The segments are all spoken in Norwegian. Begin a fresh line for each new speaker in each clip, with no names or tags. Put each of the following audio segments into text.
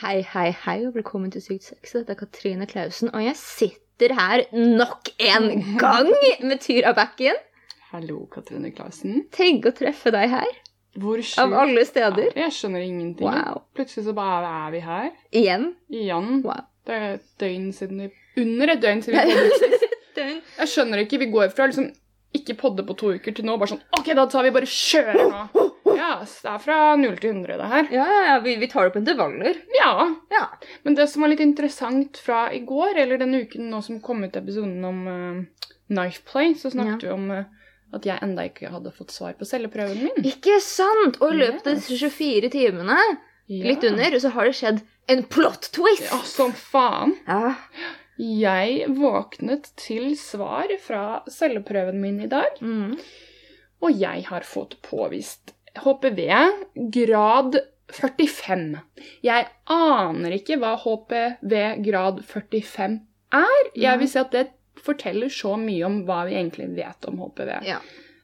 Hei, hei, hei, og velkommen til Sykt sex. Dette er Katrine Klausen, og jeg sitter her nok en gang med Tyra Bakken.
Hallo, Katrine Klausen.
Tenk å treffe deg her,
Hvor sjukt
av alle steder.
er- Jeg skjønner ingenting.
Wow.
Plutselig så bare er vi her
Igjen.
igjen.
Wow.
Det er et døgn siden vi Under et døgn siden vi podde.
Døgn.
Jeg skjønner ikke. Vi går fra liksom ikke podde på to uker til nå bare sånn OK, da tar vi bare kjører nå. Ja, ass, det er fra null til 100, det her.
Ja, ja, ja, vi, vi tar det på intervaller.
Ja.
Ja.
Men det som var litt interessant fra i går, eller denne uken nå som kom ut episoden om eh, Knife Play, så snakket vi om eh, at jeg enda ikke hadde fått svar på celleprøven min.
Ikke sant? Og i løpet av disse 24 timene, litt
Ja.
under, så har det skjedd en plot twist.
Ja, som faen.
Ja.
Jeg våknet til svar fra celleprøven min i dag,
Mm.
og jeg har fått påvist HPV grad 45. Jeg aner ikke hva HPV grad 45 er. Jeg vil si at det forteller så mye om hva vi egentlig vet om HPV.
Ja.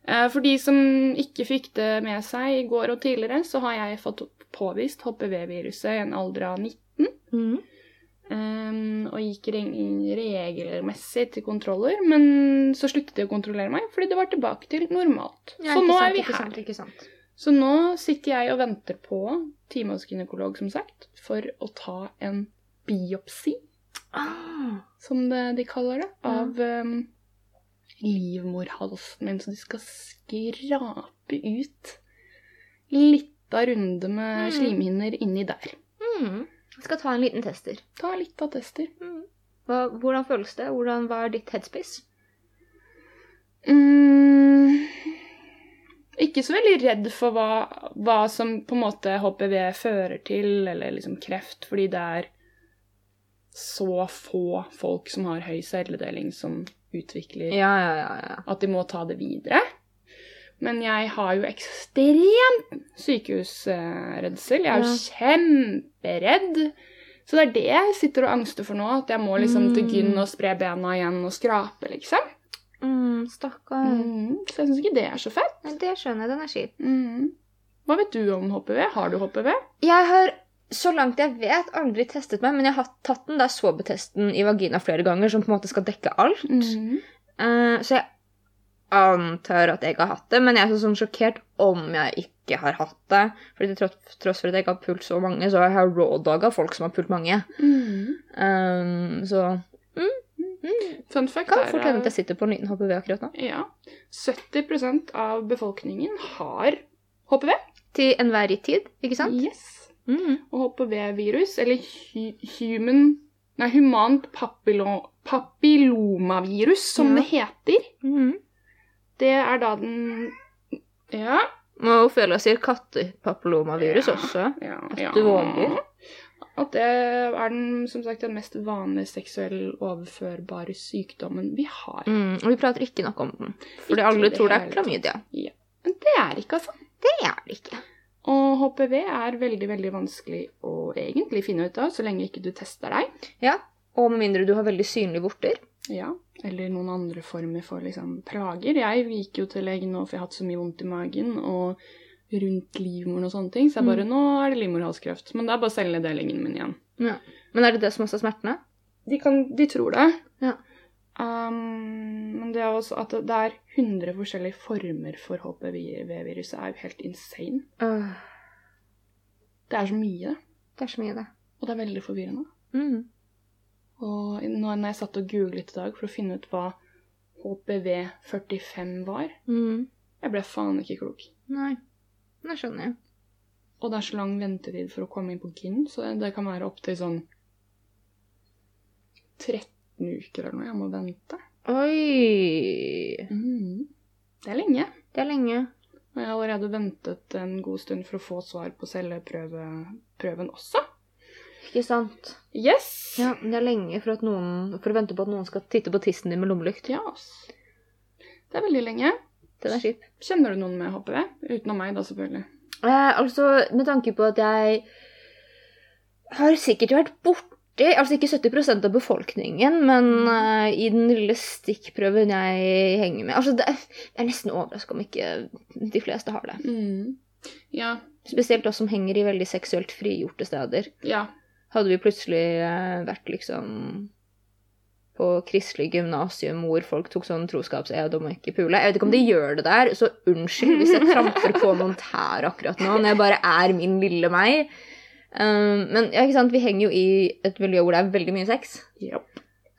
Eh, For de som ikke fikk det med seg i går og tidligere, så har jeg fått påvist HPV-viruset i en alder av 19.
Mm.
Ehm, og gikk re- regelmessig til kontroller, men så sluttet de å kontrollere meg fordi det var tilbake til normalt.
Ja,
så
ikke
nå
sant,
er vi
ikke
her.
Sant, ikke sant.
Så nå sitter jeg og venter på time hos gynekolog, som sagt, for å ta en biopsi,
Ah.
som det, de kaller det, av ehm, livmorhalsen min. Så de skal skrape ut lita runde med
Mm.
slimhinner inni der.
Mm. Jeg skal ta en liten tester.
Ta litt attester.
Hva, hvordan føles det? Hvordan var ditt headspace?
Mm, ikke så veldig redd for hva, hva som på en måte HPV fører til, eller liksom kreft, fordi det er så få folk som har høy celledeling som utvikler
Ja, ja, ja. ja.
at de må ta det videre. Men jeg har jo ekstremt sykehusredsel. Jeg er jo kjemperedd. Så det er det jeg sitter og angster for nå, at jeg må liksom til
Mm.
gyn og spre bena igjen og skrape, liksom.
Mm, Stakkar.
Mm, så jeg syns ikke det er så fett.
Nei, Det skjønner jeg. Den er kjip.
Hva vet du om HPV? Har du HPV?
Jeg har, så langt jeg vet, aldri testet meg, men jeg har tatt den der sobetesten i vagina flere ganger, som på en måte skal dekke alt. Eh, så jeg antar at jeg har hatt det, men jeg er så sånn sjokkert om jeg ikke har hatt det. Fordi til tross, tross for at jeg ikke har pult så mange, så har jeg raw-daga folk som har pult mange. Mm. Eh, så
Fun fact
kan
er
fort hende at jeg sitter på en liten HPV akkurat nå.
ja, 70 av befolkningen har HPV.
Til enhver tid, ikke sant?
Yes.
Mm.
Og HPV-virus, eller hu human Nei, humant papillo papillomavirus, som
Ja.
det heter.
Mm.
Det er da den Ja.
Må jo føle seg kattepapillomavirus
Ja.
også.
ja,
At du våger.
At det er den, som sagt, den mest vanlige seksuell overførbare sykdommen vi har.
Mm, og vi prater ikke nok om den. Fordi
Ikke i
alle
det
tror det er
hele tatt.
klamydia.
Men det er ikke, altså.
Det er det ikke.
Og HPV er veldig, veldig vanskelig å egentlig finne ut av, så lenge ikke du tester deg.
Og med mindre du har veldig synlige vorter.
Ja, eller noen andre former for liksom plager. Jeg gikk jo til legen nå, for jeg har hatt så mye vondt i magen, og rundt livmoren og sånne ting, så jeg bare, nå er det livmorhalskreft. Men det er bare celledelingen min igjen.
Men er det det som også er smertene?
De, kan, de tror det.
Ja.
Um, men det er også at det er 100 forskjellige former for HPV-viruset er jo helt insane.
Øh,
Det er så mye,
det er så mye, det.
og det er veldig forvirrende.
Mm.
Og nå- når jeg satt og googlet i dag for å finne ut hva HPV45 var,
Mm.
jeg ble faen ikke klok.
Nei. Nå skjønner jeg.
Og det er så lang ventetid for å komme inn på gyn, så det- det kan være opptil sånn 13 uker eller noe jeg må vente.
Oi!
Det er lenge.
Det er lenge.
Og jeg har allerede ventet en god stund for å få svar på celleprøven også.
Ikke sant?
Yes!
Ja, men det er lenge for, at noen, for å vente på at noen skal titte på tissen din med lommelykt.
Ja, ass. Det er veldig lenge.
Den er kjip.
Kjenner du noen med HPV? Utenom meg, da, selvfølgelig.
Eh, altså, med tanke på at jeg har sikkert vært borti Altså ikke 70 av befolkningen, men eh, i den lille stikkprøven jeg henger med Altså, det er, Jeg er nesten overraska om ikke de fleste har det.
Mm. Ja.
Spesielt oss som henger i veldig seksuelt frigjorte steder.
Ja.
hadde vi plutselig eh, vært liksom på kristelig gymnasium hvor folk tok sånn troskapsed om å ikke pule. Jeg vet ikke om
Mm.
de gjør det der, så unnskyld hvis jeg tramper på noen tær akkurat nå, når jeg bare er min lille meg. Um, men ja, ikke sant? vi henger jo i et miljø hvor det er veldig mye sex.
Yep.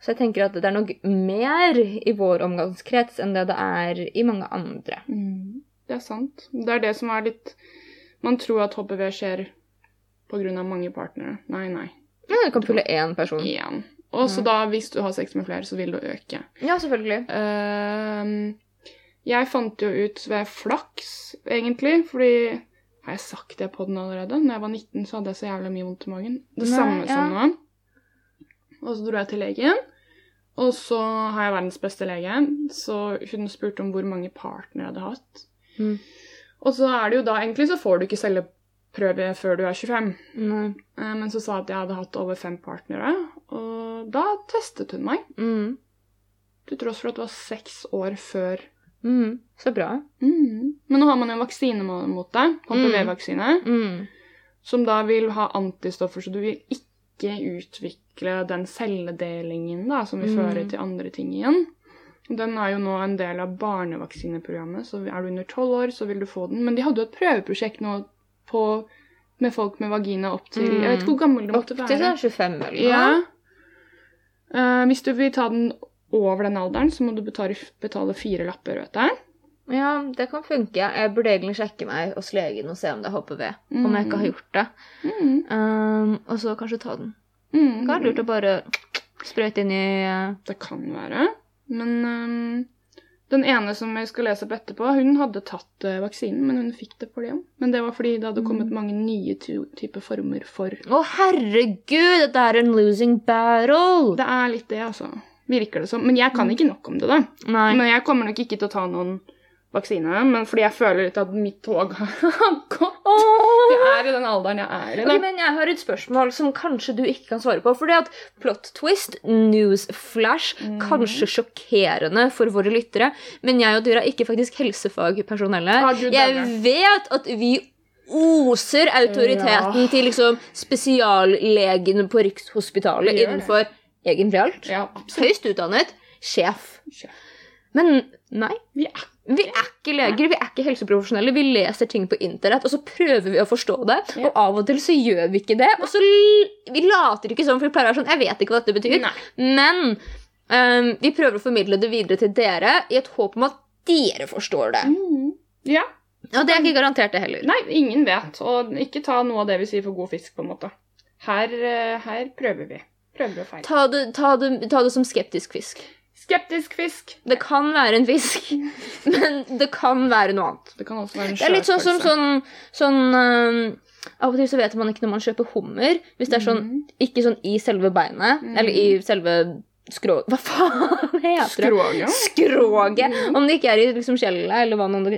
Så jeg tenker at det er nok mer i vår omgangskrets enn det det er i mange andre.
Mm, Det er sant. Det er det som er litt Man tror at HPV skjer pga. mange partnere. Nei, nei.
Ja, du kan pule én person.
Igjen. Og så
Mm.
da, hvis du har sex med flere, så vil det øke.
Ja, selvfølgelig.
Ehm, jeg fant jo ut ved flaks, egentlig, fordi Har jeg sagt det på den allerede? Når jeg var 19, så hadde jeg så jævlig mye vondt i magen. Det
Nei,
samme som
ja.
nå. Og så dro jeg til legen, og så har jeg verdens beste lege. Så hun spurte om hvor mange partnere jeg hadde hatt.
Mm.
Og så er det jo da egentlig så får du ikke celleprøve før du er 25.
Nei.
Eh, Men så sa jeg at jeg hadde hatt over fem partnere, og da testet hun meg.
Mm.
Til tross for at det var seks år før
Mm. Så bra.
Mm. Men nå har man en vaksine mo- mot det, HPV-vaksine,
Mm.
som da vil ha antistoffer, så du vil ikke utvikle den celledelingen da, som vil
Mm.
føre til andre ting igjen. Den er jo nå en del av barnevaksineprogrammet, så er du under tolv år, så vil du få den. Men de hadde jo et prøveprosjekt nå på, med folk med vagina opp til Jeg vet ikke hvor gammel du
Mm. Opp
måtte
til
være.
sånn 25 eller noe.
Ja. Eh, hvis du vil ta den over den alderen, så må du betale, betale fire lapper, vet jeg.
Ja, det kan funke. Jeg burde egentlig sjekke meg hos legen og se om det er HPV. Om jeg ikke har gjort det.
Mm.
Um, og så kanskje ta den. Det
Mm.
kan være lurt å bare sprøyte inn i uh,
Det kan være. Men øhm, den ene som jeg skal lese opp etterpå, hun hadde tatt øh, vaksinen, men hun fikk det for det òg. Men det var fordi det hadde kommet
Mm.
mange nye ty- typer former for
Å, herregud! Dette er en losing battle!
Det er litt det, altså. Virker det som. Men jeg kan ikke nok om det, da.
Mm. Nei.
Men jeg kommer nok ikke til å ta noen vaksine, men fordi jeg føler litt at mitt tog har gått.
Åh!
Jeg er i den alderen jeg er i,
Ok,
da.
men jeg har et spørsmål som kanskje du ikke kan svare på. Fordi at plot twist, news flash,
Mm.
kanskje sjokkerende for våre lyttere, men jeg og Dyra er ikke faktisk helsefagpersonellet.
Ah, Gud,
jeg
dæven.
vet at vi oser autoriteten
Ja.
til liksom spesiallegene på Rikshospitalet
Vi gjør
innenfor egentlig alt.
Ja, absolutt.
Høyst utdannet sjef.
Sjef.
Men nei.
Vi er
Vi er ikke leger, vi er ikke helseprofesjonelle. Vi leser ting på internett, og så prøver vi å forstå det.
Ja.
Og av og til så gjør vi ikke det. Og så l vi later ikke sånn, for vi pleier å være sånn Jeg vet ikke hva dette betyr.
Nei.
Men øhm, vi prøver å formidle det videre til dere i et håp om at dere forstår det.
Mm. Ja.
Og det er ikke garantert, det heller.
Nei, ingen vet. Og ikke ta noe av det vi sier for god fisk, på en måte. Her, eh, her prøver vi. Prøver og feil.
Ta det, ta, det, ta det som skeptisk fisk.
Skeptisk fisk.
Det kan være en fisk, men det kan være noe annet.
Det kan også være en
Det er litt sånn som
sjøpølse.
sånn, sånn øhm, Av og til så vet man ikke når man kjøper hummer. Hvis det er sånn
Mhm.
Ikke sånn i selve beinet,
Mm.
eller i selve skrå... Hva faen heter det?
Skroget.
Skroget!
Mhm.
Om det ikke er i liksom skjellet, eller hva noen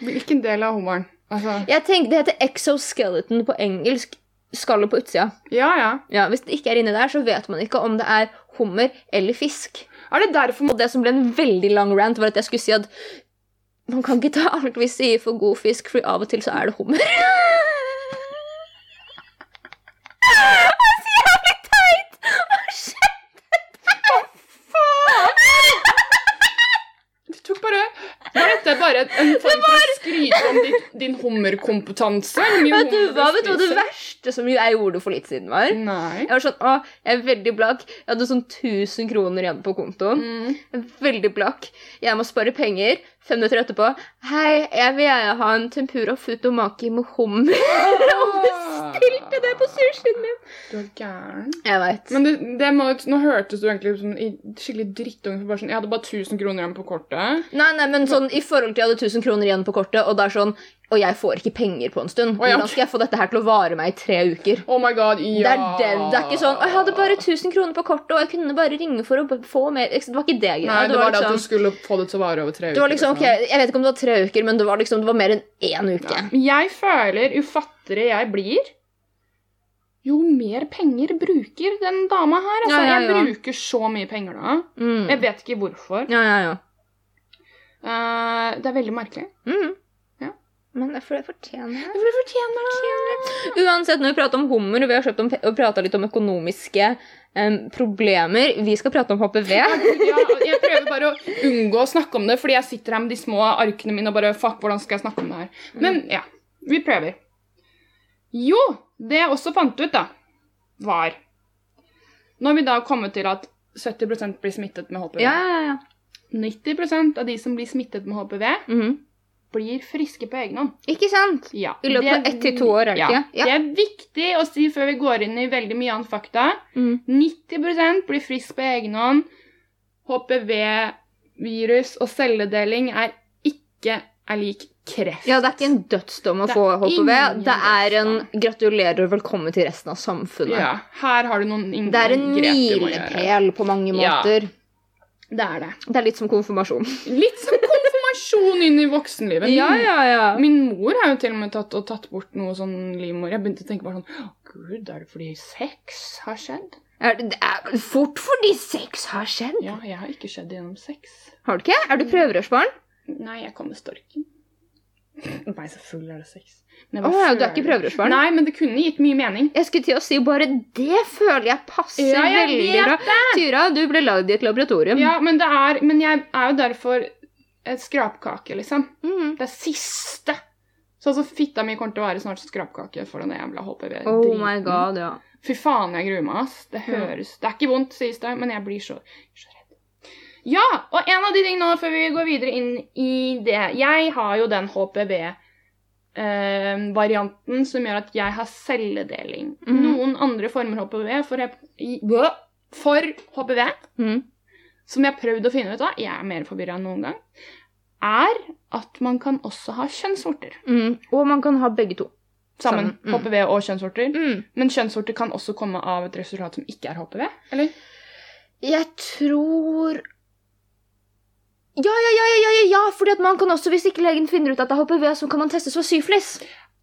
Hvilken del av hummeren? Altså,
Jeg tenker, Det heter exoskeleton på engelsk. Skallet på utsida.
ja, ja.
Ja, Hvis det ikke er inni der, så vet man ikke om det er hummer eller fisk.
Er det derfor man
Og det som ble en veldig lang rant, var at jeg skulle si at man kan ikke ta alt vi sier for god fisk, for av og til så er det hummer.
Du tok bare Var dette bare en form for å skryte om din, din hummerkompetanse? Hvor mye
Vet du
hummer
hva, vet du hva det
spiser?
verste som jeg gjorde for litt siden, var?
Nei.
Jeg var sånn, å, jeg er veldig blakk. Jeg hadde sånn 1000 kroner igjen på kontoen.
Mm.
Jeg er Veldig blakk. Jeg må spare penger. Fem minutter etterpå. Hei, jeg vil gjerne ha en tempura futomaki med hummer. Bestilte det på sushien min.
Du er gæren.
Jeg vet.
Men det, det må, nå hørtes du egentlig ut som en skikkelig drittunge. for bare Sånn, jeg hadde bare 1000 kroner igjen på kortet.
Nei, nei, men sånn, i forhold til jeg hadde 1000 kroner igjen på kortet, og det er sånn, og jeg får ikke penger på en stund.
Å, ja,
Hvordan skal jeg få dette her til å vare meg i tre uker?
Oh my god, ja.
Det er, den, det er ikke sånn, «Å, jeg hadde bare 1000 kroner på kortet, og jeg kunne bare ringe for å b- få mer. Ikke sant, Det var ikke det greia.
Nei, det var det at
liksom-
du skulle få det til å vare over tre uker.
Det var liksom, ok, Jeg vet ikke om det var tre uker, men det var liksom, det var mer enn én uke.
Men Jeg føler, jo fattigere jeg blir, jo mer penger bruker den dama her. Altså,
Ja, ja, ja.
Jeg bruker så mye penger nå.
Mm.
Jeg vet ikke hvorfor.
Ja, ja, ja.
Eh, det er veldig merkelig.
Mm.
Ja.
Men for det fortjener jeg.
For det fortjener det.
Uansett, når vi prater om hummer, og vi har kjøpt om, og prata litt om økonomiske em, problemer Vi skal prate om HPV.
Ja, og jeg prøver bare å unngå å snakke om det, fordi jeg sitter her med de små arkene mine og bare Fuck, hvordan skal jeg snakke om det her?
Mm.
Men ja, vi prøver. Jo, det jeg også fant ut, da, var Når vi da har kommet til at 70 blir smittet med HPV
Ja, ja, ja.
90 av de som blir smittet med HPV,
Mhm.
blir friske på egen hånd.
Ikke sant?
Ja.
I løpet av
det er-
ett til to år, er det
ja.
ikke?
Det er viktig å si før vi går inn i veldig mye annen fakta.
Mm.
90 blir frisk på egen hånd. HPV-virus og celledeling er ikke er lik kreft.
Ja, det er ikke en dødsdom å
Det er
få HPV.
ingen
Det er en gratulerer og velkommen til resten av samfunnet.
Ja, her har du noen ingen
Det er en
grep du må gjøre.
milepæl på mange
Ja.
måter.
Det er det.
Det er litt som konfirmasjon.
Litt som konfirmasjon inn i voksenlivet. Min,
ja.
min mor har jo til og med tatt, og tatt bort noe sånn livmor. Jeg begynte å tenke bare sånn «Å, Gud, er det fordi sex har skjedd?
Er det, det er fort fordi sex har skjedd.
Ja, jeg har ikke skjedd gjennom sex.
Har du ikke? Er du prøverørsbarn?
Nei, jeg kom med storken. Nei, selvfølgelig er det sex. Men jeg
Å
bare
ja, du er
føler-
ikke prøverørsbarn?
Nei, men det kunne gitt mye mening.
Jeg skulle til å si bare det føler jeg passer
Ja, jeg
veldig
vet
bra. Tyra, du ble lagd i et laboratorium.
Ja, men, det er, men jeg er jo derfor et skrapkake, liksom.
Mhm.
Det er siste. Så altså, fitta mi kommer til å være snart skrapkake for den jævla HPV.
Oh
driten.
my god, ja.
Fy faen, jeg gruer meg, ass. Det høres Det er ikke vondt, sies det, men jeg blir så, så redd. Ja, og en av de tingene nå før vi går videre inn i det Jeg har jo den HPV-varianten eh, som gjør at jeg har celledeling.
Mhm.
Noen andre former HPV for, i- bø- for HPV
Mhm.
som jeg har prøvd å finne ut av, jeg er mer forvirra enn noen gang, er at man kan også ha kjønnsvorter.
Mhm. Og man kan ha begge to.
Sammen.
Sammen, mm.
HPV og kjønnsvorter.
Mhm.
Men kjønnsvorter kan også komme av et resultat som ikke er HPV, eller?
Jeg tror ja, ja, ja, ja, ja, ja, ja, fordi at man kan også, hvis ikke legen finner ut at det er HPV, så kan man testes for syflis.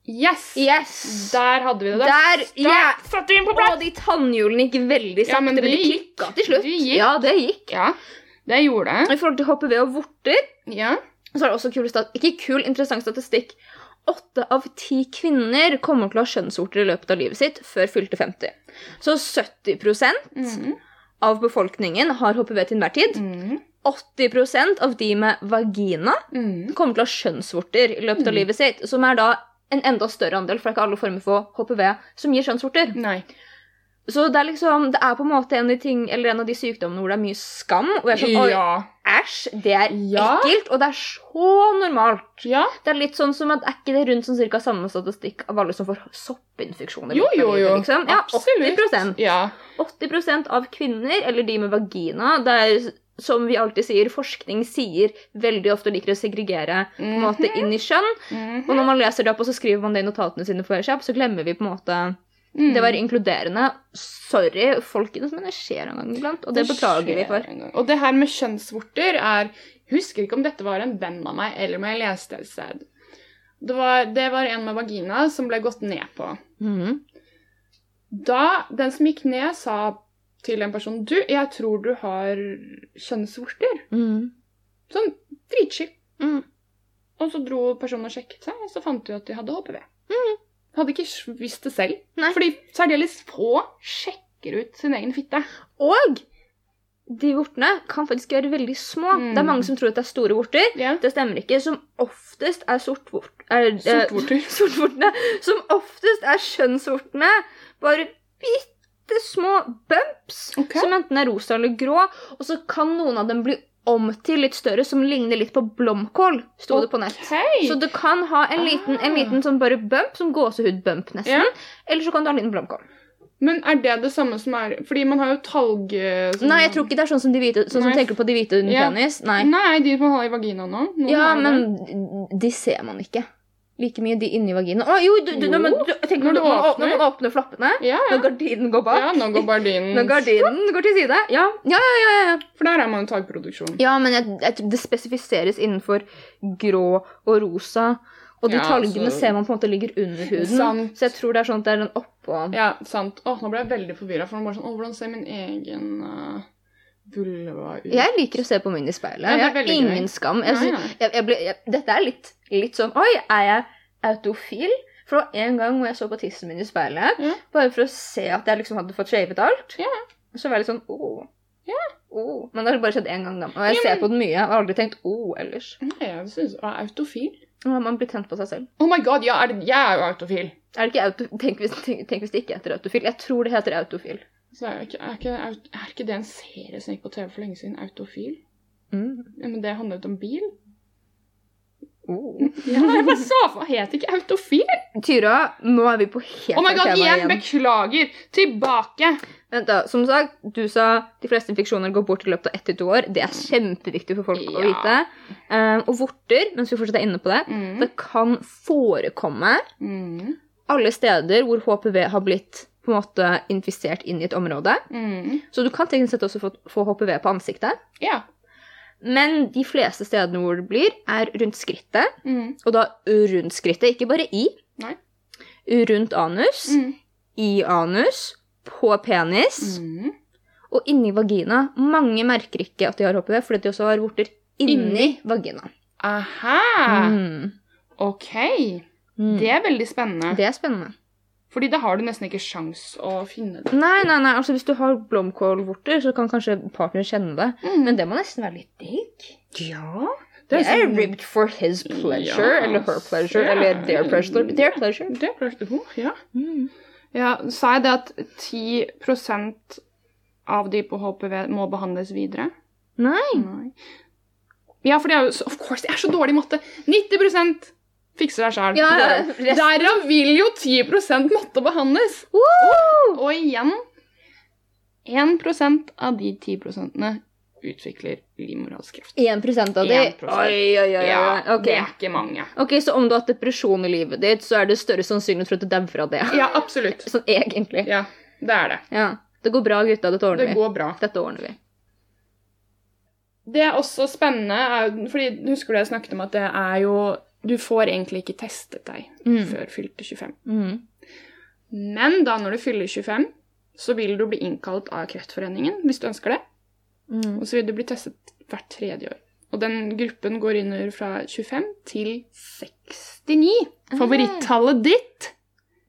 Yes!
Yes!
Der hadde vi det. Da
Der, ja.
satte vi den på plass!
Og de tannhjulene gikk veldig sakte,
Ja, men
men,
det
de
gikk.
klikka til slutt.
Det gikk.
Ja, det gikk.
Ja, det gjorde det.
I forhold til HPV og vorter,
Ja.
så er det også kul stat ikke kul, interessant statistikk. Åtte av ti kvinner kommer til å ha kjønnsvorter i løpet av livet sitt før fylte 50. Så 70
Mhm.
av befolkningen har HPV til enhver tid.
Mhm.
80 av de med vagina
Mhm.
kommer til å ha kjønnsvorter i løpet av
Mm.
livet sitt, som er da en enda større andel, for det er ikke alle former for HPV som gir kjønnsvorter.
Nei.
Så det er liksom, det er på en måte en av de, ting, eller en av de sykdommene hvor det er mye skam. Og jeg er sånn, oi,
Ja.
æsj, det er
Ja.
ekkelt, og det er så normalt.
ja.
Det er litt sånn som at er ikke det rundt sånn cirka samme statistikk av alle som får soppinfeksjoner? i
Jo,
løpet av
jo, jo.
livet, Liksom? Ja,
Absolutt.
80
Ja.
80 av kvinner, eller de med vagina, det er som vi alltid sier, forskning sier veldig ofte liker å segregere på
Mm,
en måte inn i kjønn.
Mhm.
Og når man leser det opp, og så skriver man det i notatene sine på Airshop, så glemmer vi på en måte
Mhm.
Det var inkluderende. Sorry, folkens, men det skjer en gang iblant, og det, beklager vi
mm. skjer
for.
en gang. Og det her med kjønnsvorter er Jeg husker ikke om dette var en venn av meg, eller om jeg leste et sted. Det var, det var en med vagina som ble gått ned på.
Mhm.
Da den som gikk ned, sa til en person Du, jeg tror du har kjønnsvorter.
Mhm.
Sånn dritskitt.
Mhm.
Og så dro personen og sjekket seg, og så fant de at de hadde HPV. Hadde ikke visst det selv.
Mm. Nei.
Fordi særdeles få sjekker ut sin egen fitte.
Og de vortene kan faktisk være veldig små.
Mhm.
Det er mange som tror at det er store vorter.
Ja.
Det stemmer ikke. Som oftest er sortvort... Er, eh,
Sortvorter.
sortvortene. Som oftest er kjønnsvortene bare bitte små bumps
Ok.
som enten er rosa eller grå. Og så kan noen av dem bli om til litt større, som ligner litt på blomkål. Sto det på nett.
Ok. Ah.
Så du kan ha en liten, en liten sånn bare bump, som gåsehudbump nesten.
Ja.
Eller så kan du ha en liten blomkål.
Men er det det samme som er Fordi man har jo talg... eh, som-
Nei, jeg tror ikke det er sånn som, de hvite, sånn som
Nei.
tenker på de hvite under
Ja.
penis. Nei.
Nei, de man har i vaginaen nå. Noen
Ja,
har det.
men de ser man ikke. Like mye de inni vaginaen. Å jo, du, du,
Jo.
når man, du, tenk når, du
Når du
når man
åpner.
åpner, når man åpner flappene,
ja, ja.
når gardinen går bak,
ja, nå går gardinen
når gardinen går til side. Ja, ja, ja. ja, ja.
For der er man jo talgproduksjon.
ja men jeg, jeg, tror det spesifiseres innenfor grå og rosa. Og de
Ja,
talgene
så-
ser man på en måte ligger under huden.
Sant.
Så jeg tror det er sånn at det er den oppå.
Ja, sant. Åh, nå ble jeg veldig forvirra. For nå bare sånn, åh, hvordan ser min egen eh, vulva ut?
Jeg liker å se på min i speilet.
Ja, det er
jeg har
veldig
ingen
gøy.
skam. Jeg,
Nei,
synes-
nei.
jeg, jeg ble, jeg, dette er litt, litt sånn Oi, er jeg autofil. For det var en gang hvor jeg så på tissen min i speilet,
Ja.
bare for å se at jeg liksom hadde fått shavet alt.
Ja.
Så var jeg litt sånn åh. åh. Men det har bare skjedd én gang, da. Og jeg ser på den mye. Jeg har aldri tenkt åh ellers.
Nei, jeg synes, jeg er autofil.
Nå har man blitt tent på seg selv.
Oh my god, ja, er det, jeg er jo autofil.
Er det ikke auto... tenk, hvis, tenk, tenk hvis det ikke heter autofil. Jeg tror det heter autofil.
Så er, jeg ikke, er, ikke, aut- er ikke det en serie som gikk på TV for lenge siden? Autofil?
Mm.
Ja, Men det handlet om bil?
Åh.
Ja, jeg bare så for meg, het ikke autofil?
Tyra, nå er vi på helt
Oh my god,
feil tema
igjen, beklager! Tilbake!
Vent da, som sagt, du sa de fleste infeksjoner går bort i løpet av ett til to år. Det er kjempeviktig for folk å
Mm. Ja.
vite. Eh, og vorter, mens vi fortsatt er inne på det,
Mm.
det kan forekomme
Mm.
alle steder hvor HPV har blitt på en måte infisert inn i et område.
Mm.
Så du kan teknisk sett også få, få HPV på ansiktet.
Ja.
Men de fleste stedene hvor det blir, er rundt skrittet.
Mm.
Og da rundt skrittet, ikke bare i.
Nei.
Rundt anus,
Mm.
i anus, på penis.
Mm.
Og inni vagina. Mange merker ikke at de har HPV, fordi de også har vorter inni,
Inni?
vagina.
Aha!
Mm.
Ok,
Mm.
det er veldig spennende.
Det er spennende.
Fordi da har du nesten ikke sjans å finne det.
Nei, nei, nei, altså Hvis du har blomkålvorter, så kan kanskje partneren kjenne det. Men det må nesten være litt digg.
Ja.
Mm. Det er,
sånn-
ripped for his pleasure,
Ja,
eller her pleasure,
ser.
eller their pleasure. Their pleasure. Mm.
Det er klart. Oh, ja. ja. Sa jeg det at 10 av de på HPV må behandles videre?
Nei.
Nei. Ja, for det er jo så- Of course, jeg er så dårlig i matte! 90 fikser deg sjæl.
Ja, ja, resten-
Derav vil jo 10 måtte behandles. Og igjen 1 av de 10 utvikler livmorhalskreft.
1 av de.
1%.
Oi, oi, oi. oi.
Ja,
Ok.
det er ikke mange.
ok, Så om du har hatt depresjon i livet ditt, så er det større sannsynlighet for at du dauer av det.
Ja, absolutt.
Sånn egentlig.
Ja, det er det.
Ja. Det går bra, gutta. Dette ordner
Det
vi.
går bra.
Dette ordner vi.
Det er også spennende, er jo- fordi husker du jeg snakket om at det er jo Du får egentlig ikke testet deg
Mm.
før fylte 25. Men da når du fyller 25, så vil du bli innkalt av Kreftforeningen hvis du ønsker det.
Mm.
Og så vil du bli testet hvert tredje år. Og den gruppen går under fra 25 til 69.
Ah.
Favorittallet ditt?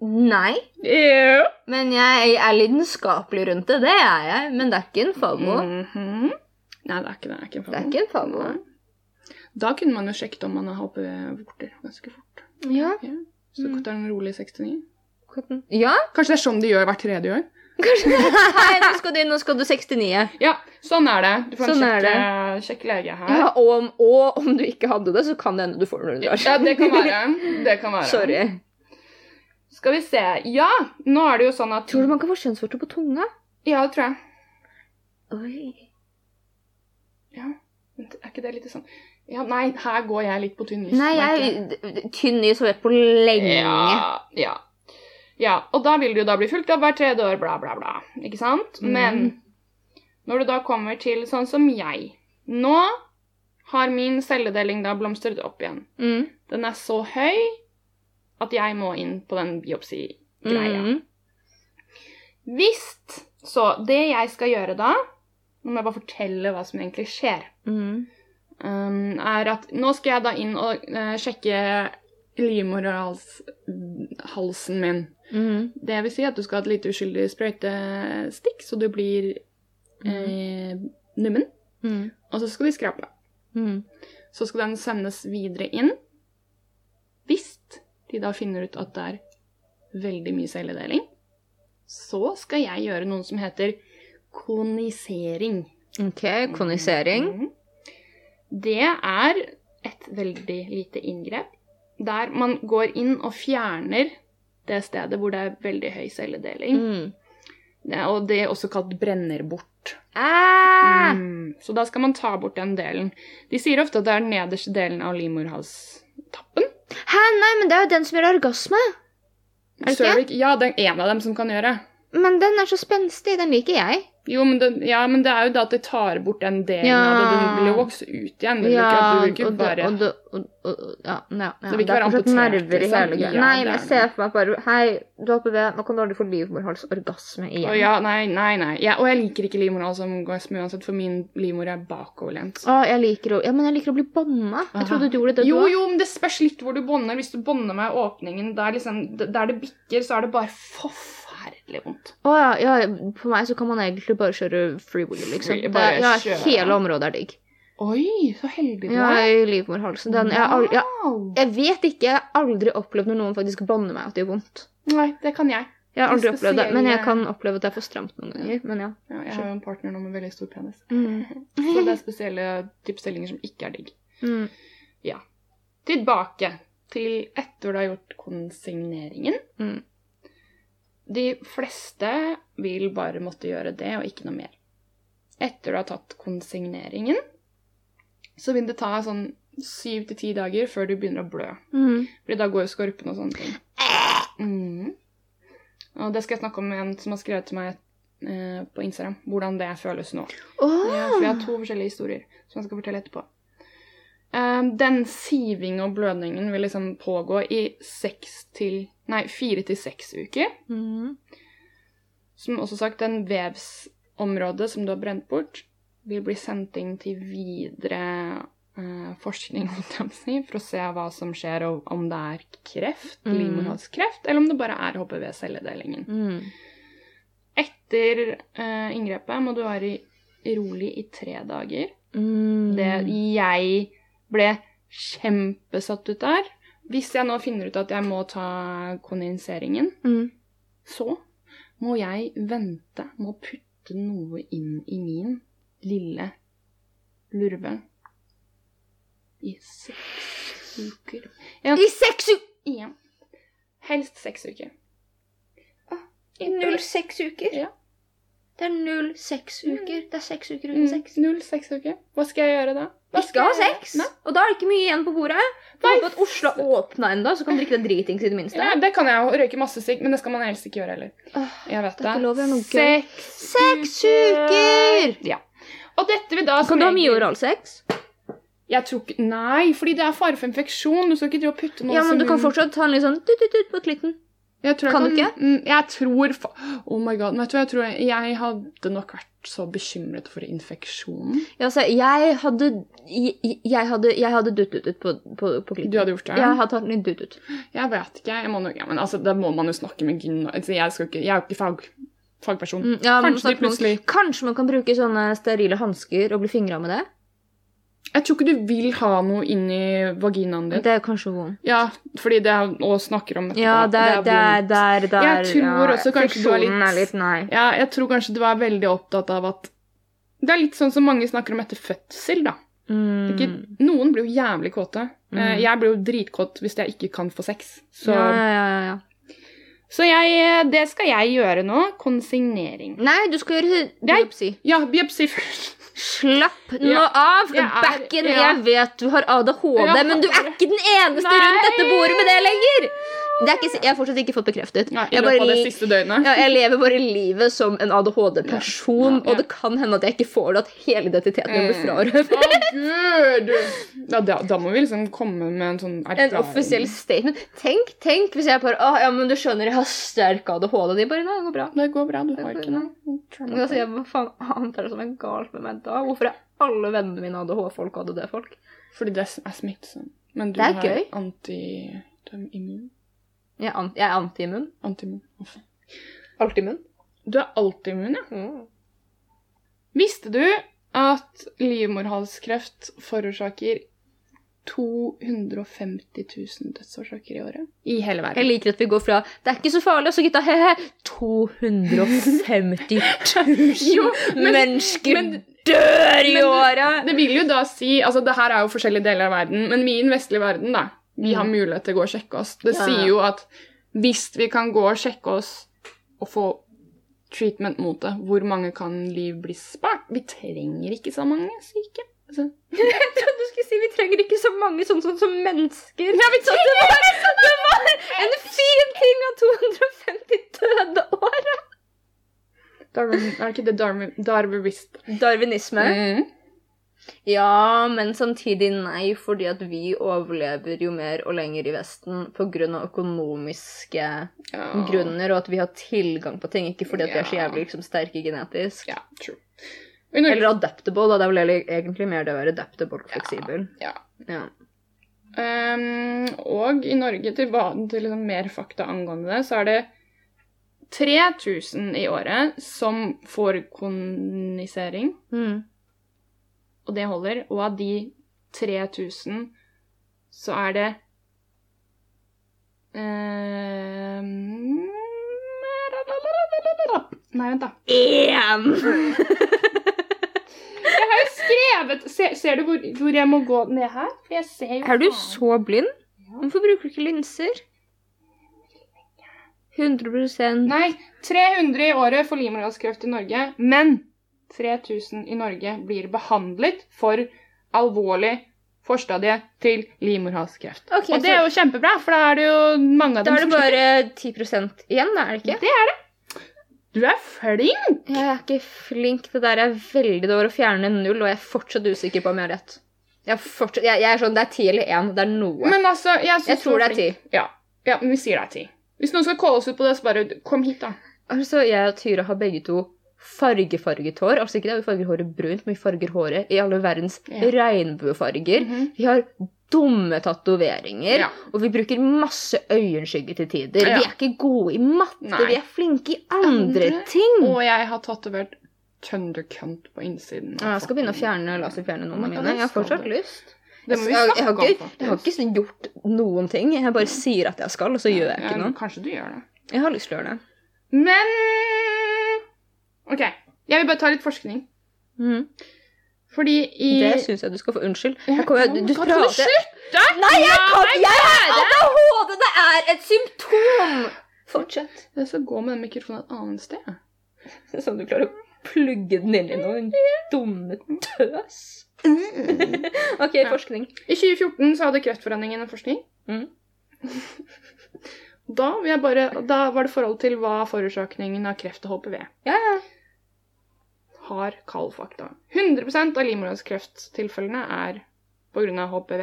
Nei,
Ja.
men jeg er lidenskapelig rundt det. Det er jeg. Men det er ikke en favo.
Mhm. Nei, det er ikke det. Det er
Mm. Det er
ikke en favorit.
ikke en favo.
Nei. Da kunne man jo sjekket om man har HPV-vorter ganske fort.
Ja.
Ja. Så
Mm.
det er en rolig 69.
ja.
Kanskje det er sånn de gjør hvert tredje år?
Nei, nå skal du, nå skal du 69.
Ja, sånn er det. Du får
Sånn
en
er
kjekk, kjekk lege her.
Ja, og, om, og om du ikke hadde det, så kan det hende du får det når du drar.
Ja, det kan være. Det kan være.
Sorry.
Skal vi se. Ja, nå er det jo sånn at
Tror du man kan få kjønnsvorter på tunga?
Ja, det tror jeg.
Oi.
Vent, Er ikke det litt sånn Ja, nei, her går jeg litt på tynn is.
Nei,
merker
jeg d- d- tynn is har vært på lenge.
Ja, ja. ja, og da vil du jo da bli fulgt opp hvert tredje år, bla, bla, bla. Ikke sant?
Mm.
Men når du da kommer til sånn som jeg Nå har min celledeling da blomstret opp igjen.
Mm.
Den er så høy at jeg må inn på den biopsi-greia.
Mm.
Visst! Så det jeg skal gjøre da Nå må jeg bare fortelle hva som egentlig skjer.
Mm.
um, er at nå skal jeg da inn og eh, sjekke livmorhalsen min.
Mm.
Det vil si at du skal ha et lite uskyldig sprøytestikk, så du blir eh, nummen.
Mm.
Og så skal de skrape.
Mm.
Så skal den sendes videre inn. Hvis de da finner ut at det er veldig mye celledeling, så skal jeg gjøre noe som heter konisering.
OK, konisering.
Mhm. Det er et veldig lite inngrep, der man går inn og fjerner det stedet hvor det er veldig høy celledeling.
Mm.
Det, Eh, og det er også kalt brenner bort.
Ah!
Mm. Så da skal man ta bort den delen. De sier ofte at det er den nederste delen av livmorhalstappen.
Hæ, nei, men det er jo den som gjør orgasme. Er det ikke?
Cervix- Ja, det er en av dem som kan gjøre.
Men den er så spenstig, den liker jeg.
Jo, men det, ja, men det er jo da at det tar bort den delen
Ja.
av det. Den vil jo vokse ut igjen. Det vil
Ja,
ikke, det vil
og
ikke
det-
bare...
og det- og- og- og- ja, ja, ja.
vil ikke
Det er
være
fortsatt
amputert,
nerver i
liksom.
hele greia.
Ja,
Nei,
det
men
er
jeg
det.
ser for meg bare Hei, du har HPV, nå kan du aldri få livmorhalsorgasme igjen.
Å ja, nei, nei, nei. Ja, og jeg liker ikke livmorhalsorgasme uansett, for min livmor er bakoverlent.
Å, jeg liker å, ja, men jeg liker å bli banna. Jeg
Aha.
trodde du gjorde det.
Jo,
du
jo, men det spørs litt hvor du bånder. Hvis du bånder med åpningen der, liksom, der det bikker, så er det bare forferdelig vondt.
Å ja, ja, for meg så kan man egentlig bare kjøre free willy, liksom.
Free-
Det,
bare
er- ja,
kjøre.
hele området er digg.
Oi, så heldig du
Ja,
er.
i livmorhalsen. Den, jeg, har al- jeg,
Wow.
jeg vet ikke, jeg har aldri opplevd når noen faktisk banner meg at det gjør vondt.
Nei, det kan jeg.
Jeg har
Det
aldri
er
opplevd det, men jeg
spesielle-
kan oppleve at det er for stramt noen ganger. Men ja.
Ja, jeg har jo en partner nå med veldig stor penis.
Mm.
Så det er spesielle type stillinger som ikke er digg.
Mm.
Tilbake til etter du har gjort konsigneringen.
Mm.
De fleste vil bare måtte gjøre det, og ikke noe mer. Etter du har tatt konsigneringen, så vil det ta sånn syv til ti dager før du begynner å blø.
Mm.
Fordi da går jo skorpen og sånne ting. Mm. Og det skal jeg snakke om med en som har skrevet til meg eh, på Instagram, hvordan det føles nå.
Ah!
Ja, for jeg har to forskjellige historier som jeg skal fortelle etterpå. Ehm, den siving og blødningen vil liksom pågå i seks til Nei, fire til seks uker.
Mm.
Som også sagt, den vevsområdet som du har brent bort, vil bli sendt inn til videre eh, forskning holdt jeg på å si, for å se hva som skjer, og om det er kreft,
Mm.
livmorhalskreft, eller om det bare er HPV-celledelingen.
Mm.
Etter eh, inngrepet må du være i- rolig i tre dager.
Mm.
Det jeg ble kjempesatt ut der. Hvis jeg nå finner ut at jeg må ta kondenseringen,
Mm.
så må jeg vente med å putte noe inn i min lille lurve i seks uker.
I seks uker!
Igjen. Helst seks uker. Ah,
I null seks uker?
Ja.
Det er null seks uker. Det er seks uker uten
Mm,
sex.
Null seks uker. Hva skal jeg gjøre da? Hva
Vi skal ha
jeg gjøre?
sex, og da er det ikke mye igjen på bordet. Får
Nei.
Håpe at Oslo har åpna ennå, så kan drikke deg dritings i det minste.
Nei, det kan jeg jo. Røyke masse sigg, men det skal man helst ikke gjøre heller.
Åh,
Jeg vet
Det er
det.
ikke lov å gjøre noe gøy.
Seks,
Seks uker!
Ja. Og dette vil da som
Kan du ha mye
regel-
oralsex?
Jeg tror ikke Nei, fordi det er fare for infeksjon. Du skal ikke drive og putte noe
Ja, men
som
du kan
hun-
fortsatt ta en litt sånn tut-tut-tut på klitten.
jeg tror jeg
Kan du ikke?
Mm, Jeg tror fa Oh my god. Vet du hva, jeg tror jeg, jeg hadde nok vært så bekymret for infeksjonen.
Ja, altså, jeg hadde Jeg, jeg hadde, jeg hadde dutt-ut på, på, på klitten.
Du hadde gjort det?
Jeg hadde tatt en litt dutt-ut.
Jeg vet ikke. Jeg må nok, ja, men altså, da må man jo snakke med gyne... Altså, jeg, skal ikke, jeg er jo ikke fag, fagperson.
Mm, ja, men
Kanskje
snakk
de
med-
plutselig
Kanskje man kan bruke sånne sterile hansker og bli fingra med det?
Jeg tror ikke du vil ha noe inni vaginaen din.
Det er kanskje vondt.
Ja, fordi det er Og snakker om etterpå.
Ja, der,
det er
der,
vondt.
der, der
Jeg tror
ja,
også kanskje du er litt-
friksjonen er litt Nei.
Ja, jeg tror kanskje du er veldig opptatt av at Det er litt sånn som mange snakker om etter fødsel, da. Det er
Mm.
Ikke, noen blir jo jævlig kåte. Eh,
Mm.
Jeg blir jo dritkåt hvis jeg ikke kan få sex. Så,
Ja, ja, ja, ja.
så jeg, eh, det skal jeg gjøre nå. Konsignering.
Nei, du skal gjøre
Nei.
biopsi.
Ja, biopsi først.
Slapp nå
Ja.
av!
Jeg er-
Backen,
ja.
jeg vet du har ADHD,
Ja.
men du er ikke den eneste
Nei.
rundt dette bordet med det lenger! Det er ikke, s- jeg har fortsatt ikke fått bekreftet.
Nei, I
jeg,
løpet
bare,
av det
li-
siste døgnet.
ja, jeg lever bare livet som en ADHD-person,
Ja. Ja.
og det kan hende at jeg ikke får det at hele identiteten min blir
Mm.
frarøvet.
Å, gud! Ja, da, da må vi liksom komme med en sånn
En offisiell statement. Tenk tenk hvis jeg bare Å, ja, men du skjønner, jeg har sterk ADHD. De bare Nei, det går bra.
Det går bra. Du har ikke noe
Men Altså, jeg, hva faen annet er det som er galt med meg da? Hvorfor er alle vennene mine ADHD-folk og ADD-folk?
Fordi det er smittsomt. Men du
Det er
har
gøy.
anti... Du er immun.
Jeg er an- jeg er antiimmun.
Antimun. Å, faen.
Altimunn.
Du er alltimmun, ja.
Mm.
Visste du at livmorhalskreft forårsaker 250 000 dødsårsaker i året? I hele
Jeg
verden.
liker at vi går fra 'det er ikke så farlig', og så gutta he-he 250 000
Jo, men-
mennesker
men-
dør i
men-
året!
Det vil jo da si Altså, det her er jo forskjellige deler av verden, men vi i den vestlige verden, da, vi har mulighet til å gå og sjekke oss. Det
Ja, ja.
sier jo at hvis vi kan gå og sjekke oss og få treatment mot det, hvor mange kan liv bli spart? Vi trenger ikke så mange syke. Altså,
Jeg trodde du skulle si vi trenger ikke så mange sånn sånn som mennesker.
Ja, vi
Så det var, det var en fin ting av 250 døde år!
Darwin, er det ikke det Darwin, Darwinist?
Darwinisme.
Mm.
Ja, men samtidig nei, fordi at vi overlever jo mer og lenger i Vesten pga. økonomiske
Ja.
grunner, og at vi har tilgang på ting, ikke fordi at vi er så
Ja.
jævlig liksom, sterke genetisk.
Ja, true. Og i Norge,
Eller adaptable, da. Det er vel egentlig- egentlig mer det å være adaptable og fleksibel.
ja.
Ja.
Ehm, og i Norge, til, hva- til liksom mer fakta angående det, så er det 3000 i året som får kolonisering,
Mm.
og det holder. Og av de 3000 så er det ehm, Nei, vent, da.
Én!
Jeg har jo skrevet Se, Ser du hvor, hvor jeg må gå ned her? For jeg ser jo
Er du
faen.
så blind? Hvorfor bruker du ikke linser? 100
Nei, 300 i året får livmorhalskreft i Norge, men 3000 i Norge blir behandlet for alvorlig forstadie til livmorhalskreft.
Ok,
Og det er
så
jo kjempebra, for da er det jo mange
da
av dem
er det bare 10 igjen, da, er det ikke?
Det er det. Du er flink!
Jeg er ikke flink. Det der er veldig dårlig å fjerne null, og jeg er fortsatt usikker på om jeg har rett. Jeg er, fortsatt, jeg, jeg er sånn, Det er ti eller én. Det er noe.
Men altså, jeg, synes
jeg
du
tror det er ti.
flink. Ja. ja, men vi sier det er ti. Hvis noen skal calle oss ut på det, så bare kom hit, da.
Altså, Jeg og Tyra har begge to fargefarget hår. Altså ikke det, Vi farger håret brunt, men vi farger håret i alle verdens
Ja.
regnbuefarger.
Mhm.
Vi har dumme tatoveringer,
Ja.
og vi bruker masse øyenskygge til tider.
Ja.
Vi er ikke gode i matte,
Nei.
vi er flinke i andre,
Andre.
ting.
Og jeg har tatovert Thundercunt på innsiden. av
Ja, jeg skal begynne å
fucking-
fjerne, laserfjerne noen
Ja,
av
det
mine. Jeg har
skal
fortsatt
du.
lyst.
Det må
jeg,
vi
jeg,
snakke
har
om,
ikke, jeg har
faktisk.
ikke sånn gjort noen ting. Jeg bare sier at jeg skal, og så gjør jeg
Ja,
ikke noe.
Kanskje du gjør det.
Jeg har lyst til å gjøre det.
Men OK. Jeg vil bare ta litt forskning.
Mhm.
Fordi i
Det syns jeg du skal få. Unnskyld. Jeg kommer,
Ja,
du,
men
du
kan- Kan du
prater
slutte?!
Nei, jeg
Ja,
kan
nei,
jeg har ADHD! Det er et symptom! Fortsett.
Jeg skal gå med den mikrofonen et annet sted.
Som du klarer å plugge den inn i noe, din dumme tøs. Mm. OK,
Ja.
forskning.
I 2014 så hadde Kreftforeningen en forskning.
Mhm.
Da, vil jeg bare, da var det forhold til hva forårsakningen av kreft og HPV
Ja, ja.
har kald fakta. 100 av livmorhalskrefttilfellene er pga. HPV.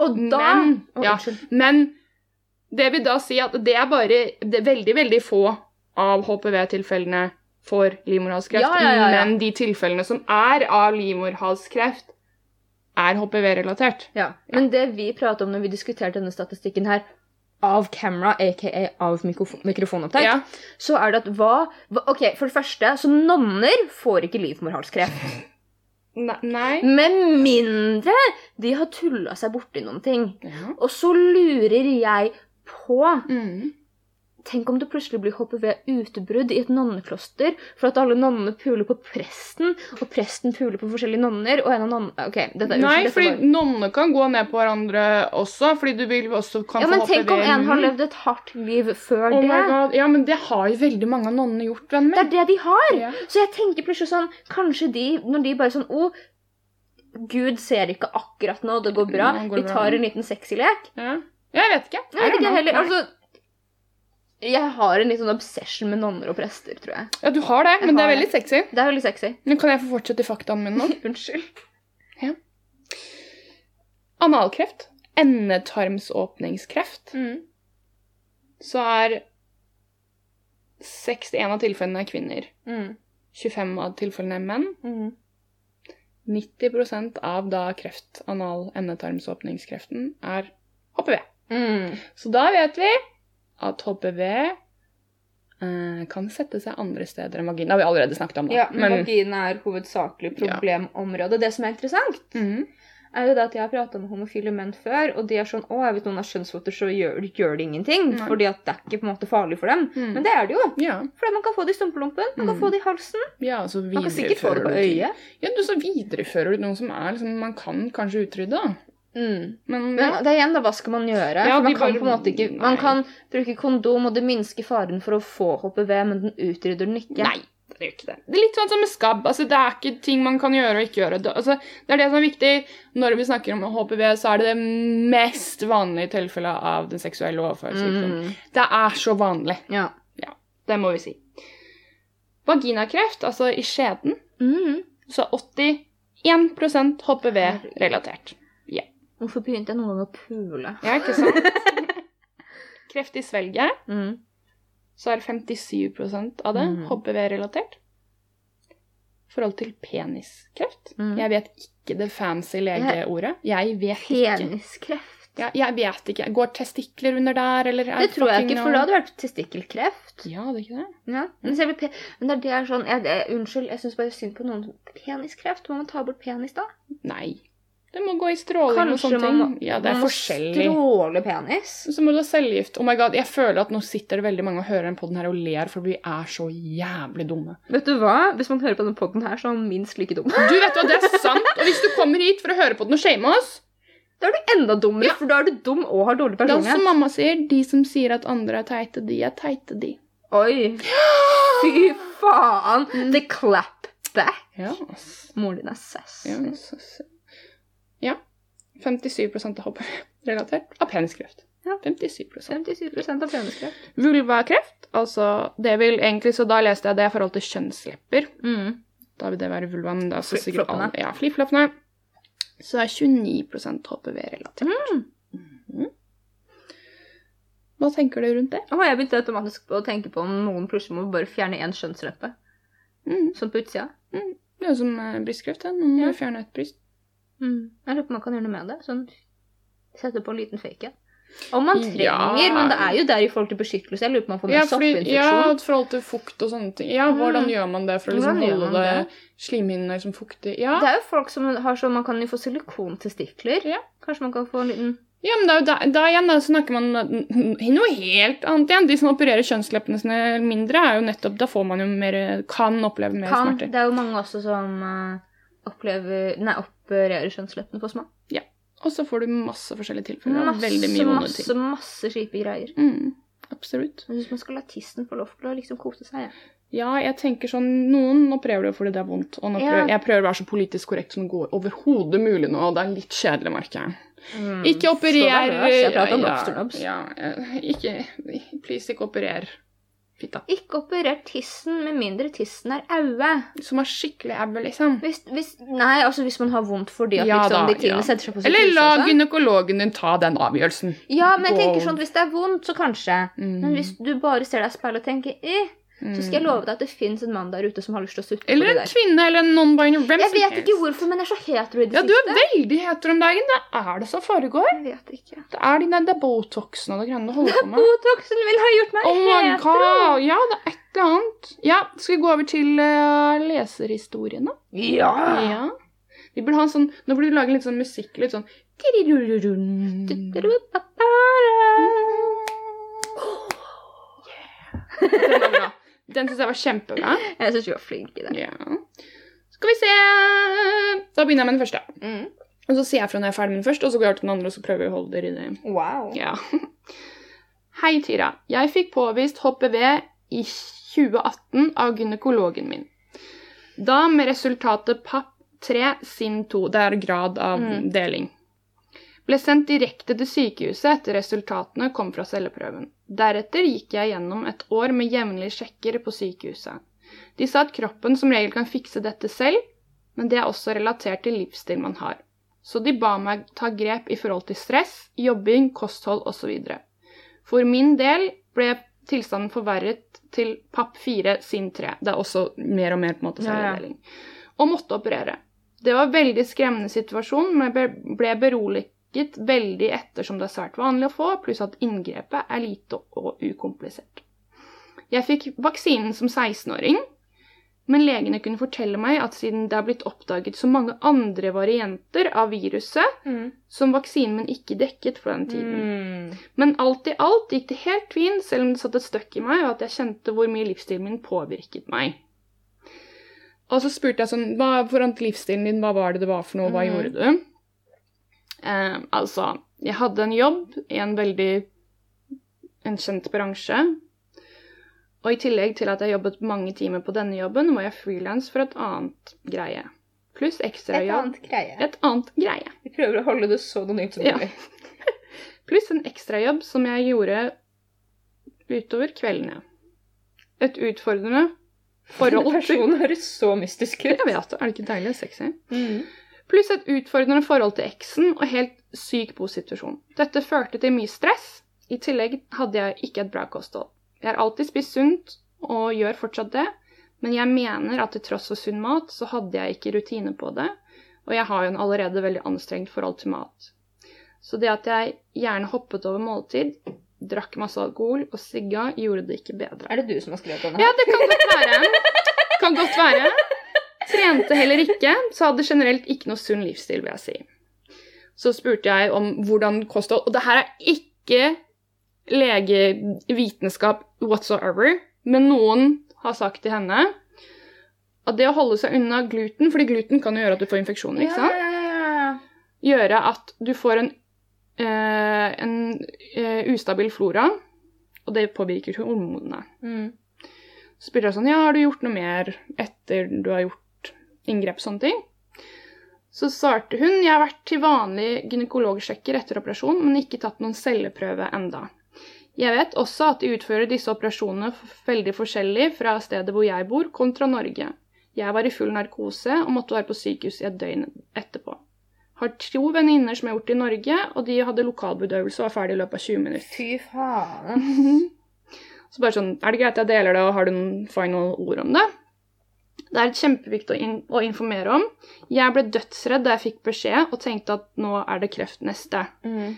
Og da
Men-
Å,
ja.
unnskyld.
Men det vil da si at det er bare det er veldig, veldig få av HPV-tilfellene for livmorhalskreft.
Ja, ja, ja, ja.
Men de tilfellene som er av livmorhalskreft, er HPV-relatert.
Ja, men det vi prater om når vi diskuterte denne statistikken her, av camera, aka av mikrof mikrofonopptak,
Ja.
så er det at hva, hva Ok, for det første, så nonner får ikke livmorhalskreft.
Ne- Nei.
Med mindre de har tulla seg borti noen ting.
Ja.
Og så lurer jeg på
Mm.
Tenk om det plutselig blir HPV-utbrudd i et nonnekloster, for at alle nonnene puler på presten, og presten puler på forskjellige nonner, og en av nonnene Ok, dette er
Nei,
dette var-
fordi nonner kan gå ned på hverandre også, fordi du vil også kan
Ja,
få
men
HPV.
tenk om en har
i munnen.
levd et hardt liv før
Oh my
det.
God. Ja, men det har jo veldig mange av nonnene gjort, vennen
Det
min.
er det de har!
Ja.
Så jeg tenker plutselig sånn Kanskje de, når de bare sånn Å, Gud ser ikke akkurat nå, det går bra.
Nå går
Vi
Mm, det bra.
tar en liten sexy lek.
Ja. Jeg vet ikke.
Nei,
I
det er ikke
don't know.
jeg heller.
Nei.
Altså Jeg har en litt sånn obsession med nonner og prester, tror jeg.
Ja, du har det,
Jeg
men det er
har
veldig sexy.
Det er veldig sexy.
Nå kan jeg få fortsette i faktaene mine nå.
Unnskyld.
Analkreft, endetarmsåpningskreft,
Mm,
så er 61 av tilfellene er kvinner,
mm,
25 av tilfellene er menn, 90 av da kreft, anal endetarmsåpningskreften, er HPV. Så da vet vi at HPV eh, kan sette seg andre steder enn vagina. Det har vi allerede snakket om. da.
Ja, men,
Men-
vagina er hovedsakelig problemområde. Det som er interessant,
Mhm.
er jo det at jeg har prata med homofile menn før, og de er sånn 'Å, hvis noen har kjønnsvotter, så gjør, gjør det ingenting.'
Nei.
Fordi at det er ikke på en måte farlig for dem.
Mm.
Men det er det jo.
ja,
Fordi man kan få det i stumpelumpen, man kan
Mm.
få det i halsen.
ja, så viderefører
Man kan sikkert få det på
du ting.
øyet.
Ja, du, så viderefører du noe som er liksom, man kan kanskje utrydde, da.
Mm. Men
Men,
det er igjen, da, hva skal man gjøre?
Ja,
For man
de
kan
bare-
på en måte ikke Man
Nei.
kan bruke kondom, og det minsker faren for å få HPV, men den utrydder den ikke.
Nei, det er jo ikke det. Det er litt sånn som med skabb. Altså, det er ikke ting man kan gjøre og ikke gjøre. Det, altså, det er det som er viktig. Når vi snakker om HPV, så er det det mest vanlige tilfellet av den sånn. seksuelle overførsykdommen.
Mm.
Mm. Det er så vanlig.
Ja.
Det må vi si. Vaginakreft, altså i skjeden,
Mm.
så er 81 HPV-relatert.
Hvorfor begynte jeg noen gang å pule?
Ja, ikke sant? Kreft i svelget,
Mm.
så er 57 av det
Mhm.
HPV-relatert. Forhold til peniskreft.
Mm.
Jeg vet ikke det fancy legeordet. Jeg vet ikke.
Peniskreft?
Ja, jeg vet ikke. Går testikler under der, eller er
Det tror jeg
fucking
ikke,
noe-
for da hadde det vært testikkelkreft.
Ja, det er ikke det.
Ja. Men, selve pe men det er det er sånn jeg, jeg, Unnskyld, jeg syns bare synd på noen. Peniskreft? Må man ta bort penis, da?
Nei. Det må gå i stråling og
Kanskje
sånne
man
ting.
må-
Ja, det
Man
er
må
forskjellig.
Stråle penis?
Så må du ha cellegift. Oh my god, jeg føler at nå sitter det veldig mange og hører den podden her og ler, for vi er så jævlig dumme.
Vet du hva? Hvis man hører på denne podden her, så er man minst like dum.
Du vet hva, det er sant! Og hvis du kommer hit for å høre på den og shame oss,
Da er du enda dummere, for da er du dum og har dårlig
da som
personlighet.
mamma sier, de som sier at andre er teite, de er teite, de.
Oi! Fy faen!
Mm.
The clapback.
Ja, ass.
Moren din er sass.
Ja, ass, ass. ja. 57 av hopp relatert av peniskreft.
Ja.
57
57 av peniskreft.
Vulvakreft, altså det vil egentlig, så da leste jeg det i forhold til kjønnslepper.
Mm.
Da vil det være vulvaen. Det er også sikkert
Flip-floppene.
alle- Ja, flipfloppene. Så er 29 HPV-relatert.
Mm.
Mhm. Hva tenker du rundt det?
Og jeg begynte automatisk å tenke på om noen plutselig må bare fjerne én skjønnsleppe.
Mhm.
Sånn på utsida.
Det er jo som eh, brystkreft. da. Noen må
Ja.
fjerne et bryst. Mm.
Jeg lurer på om man kan gjøre noe med det. Sånn, Sette på en liten fake en. Om man trenger,
Ja.
men det er jo der i forhold til beskyttelse. Jeg lurer på om man får
Ja,
mer
fordi, ja,
soppinfeksjon.
et forhold til fukt og sånne ting. Ja, hvordan
Mhm.
gjør man det for å liksom
Hvordan gjør
holde
man
det slimhinnene liksom fuktig? Ja.
Det er jo folk som har sånn Man kan jo få silikontestikler.
Ja.
Kanskje man kan få en liten
ja, men det er jo da, da igjen da snakker man n- n- noe helt annet igjen. De som opererer kjønnsleppene sine mindre, er jo nettopp Da får man jo mer Kan oppleve mer
kan.
smerter.
Det er jo mange også som eh, opplever Nei, opererer kjønnsleppene på små.
Og så får du masse forskjellige tilfeller. av
Masse,
veldig mye vonde
masse,
ting.
masse kjipe greier.
Mm, absolutt.
Jeg syns man skal la tissen få lov til å liksom kose seg. Ja.
Ja, jeg tenker sånn, noen opererer det jo fordi det er vondt, og nå
Ja.
prøver, jeg prøver å være så politisk korrekt som det går overhodet mulig nå, og det er litt kjedelig, merker jeg.
Mm.
Ikke
Så
operer...
det er rart, jeg prater om
ja,
lobsternobs.
Ja, eh, ikke... Please, ikke operer fitta.
Ikke operer tissen med mindre tissen er aue.
Som er skikkelig ebbe, liksom.
Hvis, hvis, nei, altså hvis man har vondt fordi at
Ja
liksom,
da,
de tingene
ja.
setter seg på sitt
Eller
hus
la
og sånn.
gynekologen din ta den avgjørelsen.
Ja, men jeg tenker
Wow.
sånn at hvis det er vondt, så kanskje.
Mm,
Men hvis du bare ser deg i speilet og tenker eh, så skal jeg love deg at det fins en mann der ute som har lyst til å sutte på det
Eller
der.
en kvinne, eller en non-binary, hvem
Jeg
som
vet ikke
helst.
hvorfor, men jeg er så hetero i det
Ja, du er
siste.
veldig hetero om dagen. Det er det som foregår.
Jeg vet ikke.
Det er de der det er botoxen og det greiene du holder på med.
Botoxen vil ha gjort meg
Oh my
hetero.
god! Ja, det er et eller annet. Ja, skal vi gå over til eh, leserhistoriene?
Ja.
Ja. Vi burde ha en sånn, nå burde vi lage litt sånn musikk, litt sånn tirirururun. Den var bra. Den syns jeg var kjempebra.
Jeg syns vi var flinke i det.
Ja. Skal vi se Da begynner jeg med den første.
Mm.
Og så sier jeg fra når jeg er ferdig med den første, og så går jeg over til den andre, og så prøver vi å holde dere i det.
Wow.
Ja. Hei, Tyra. Jeg fikk påvist HPV i 2018 av gynekologen min. Da med resultatet PAP 3 SIN 2, det er grad av
Mm.
deling, ble sendt direkte til sykehuset etter resultatene kom fra celleprøven. Deretter gikk jeg gjennom et år med jevnlige sjekker på sykehuset. De sa at kroppen som regel kan fikse dette selv, men det er også relatert til livsstil man har. Så de ba meg ta grep i forhold til stress, jobbing, kosthold osv. For min del ble tilstanden forverret til papp 4 sin 3. Det er også mer og mer på en måte
Ja, ja.
celledeling. Og måtte operere. Det var en veldig skremmende situasjon, men jeg ble- ble beroliget veldig ettersom det er svært vanlig å få, pluss at inngrepet er lite og ukomplisert. Jeg fikk vaksinen som 16-åring, men legene kunne fortelle meg at siden det er blitt oppdaget så mange andre varianter av viruset,
Mm.
som vaksinen min ikke dekket på den tiden. Men alt i alt gikk det helt fint, selv om det satt et støkk i meg, og at jeg kjente hvor mye livsstilen min påvirket meg. Og så spurte jeg sånn Hva foran til livsstilen din? Hva var det det var for noe? Hva
Mhm.
gjorde du? Eh, altså, jeg hadde en jobb i en veldig en kjent bransje. Og i tillegg til at jeg jobbet mange timer på denne jobben, var jeg frilans for et annet greie. Pluss
Et
ekstrajobb.
annet greie.
Et annet greie.
Vi prøver å holde det så anonymt som
Ja.
mulig.
Pluss en ekstrajobb som jeg gjorde utover kveldene. Et utfordrende,
Denne
forhold til
personen høres så mystisk ut.
Jeg vet det. altså, Er det ikke deilig? Sexy.
Mm.
Pluss et utfordrende forhold til eksen og helt syk bosituasjon. Dette førte til mye stress. I tillegg hadde jeg ikke et bra kosthold. Jeg har alltid spist sunt og gjør fortsatt det, men jeg mener at til tross for sunn mat, så hadde jeg ikke rutine på det, og jeg har jo en allerede veldig anstrengt forhold til mat. Så det at jeg gjerne hoppet over måltid, drakk masse alkohol og sigga, gjorde det ikke bedre.
Er det du som har skrevet denne?
Ja, det kan godt være. Kan godt være. Trente heller ikke, så hadde generelt ikke noe sunn livsstil, vil jeg si. Så spurte jeg om hvordan kosthold Og det her er ikke legevitenskap whatsoever, men noen har sagt til henne at det å holde seg unna gluten, fordi gluten kan jo gjøre at du får infeksjoner, ikke sant?
Ja, ja, ja, ja.
gjøre at du får en, eh, en eh, ustabil flora, og det påvirker hormonene.
Mm.
Så spurte jeg sånn, ja, har du gjort noe mer etter du har gjort inngrep og sånne ting? Så svarte hun, jeg har vært til vanlig gynekologsjekker etter operasjon, men ikke tatt noen celleprøve enda. Jeg vet også at de utfører disse operasjonene f- veldig forskjellig fra stedet hvor jeg bor, kontra Norge. Jeg var i full narkose og måtte være på sykehus i et døgn etterpå. Har to venninner som er gjort det i Norge, og de hadde lokalbedøvelse og var ferdig i løpet av 20 minutter.
Fy faen.
Så bare sånn, er det greit jeg deler det, og har du noen final ord om det? Det er kjempeviktig å, in å informere om. Jeg ble dødsredd da jeg fikk beskjed og tenkte at nå er det kreft neste.
Mm.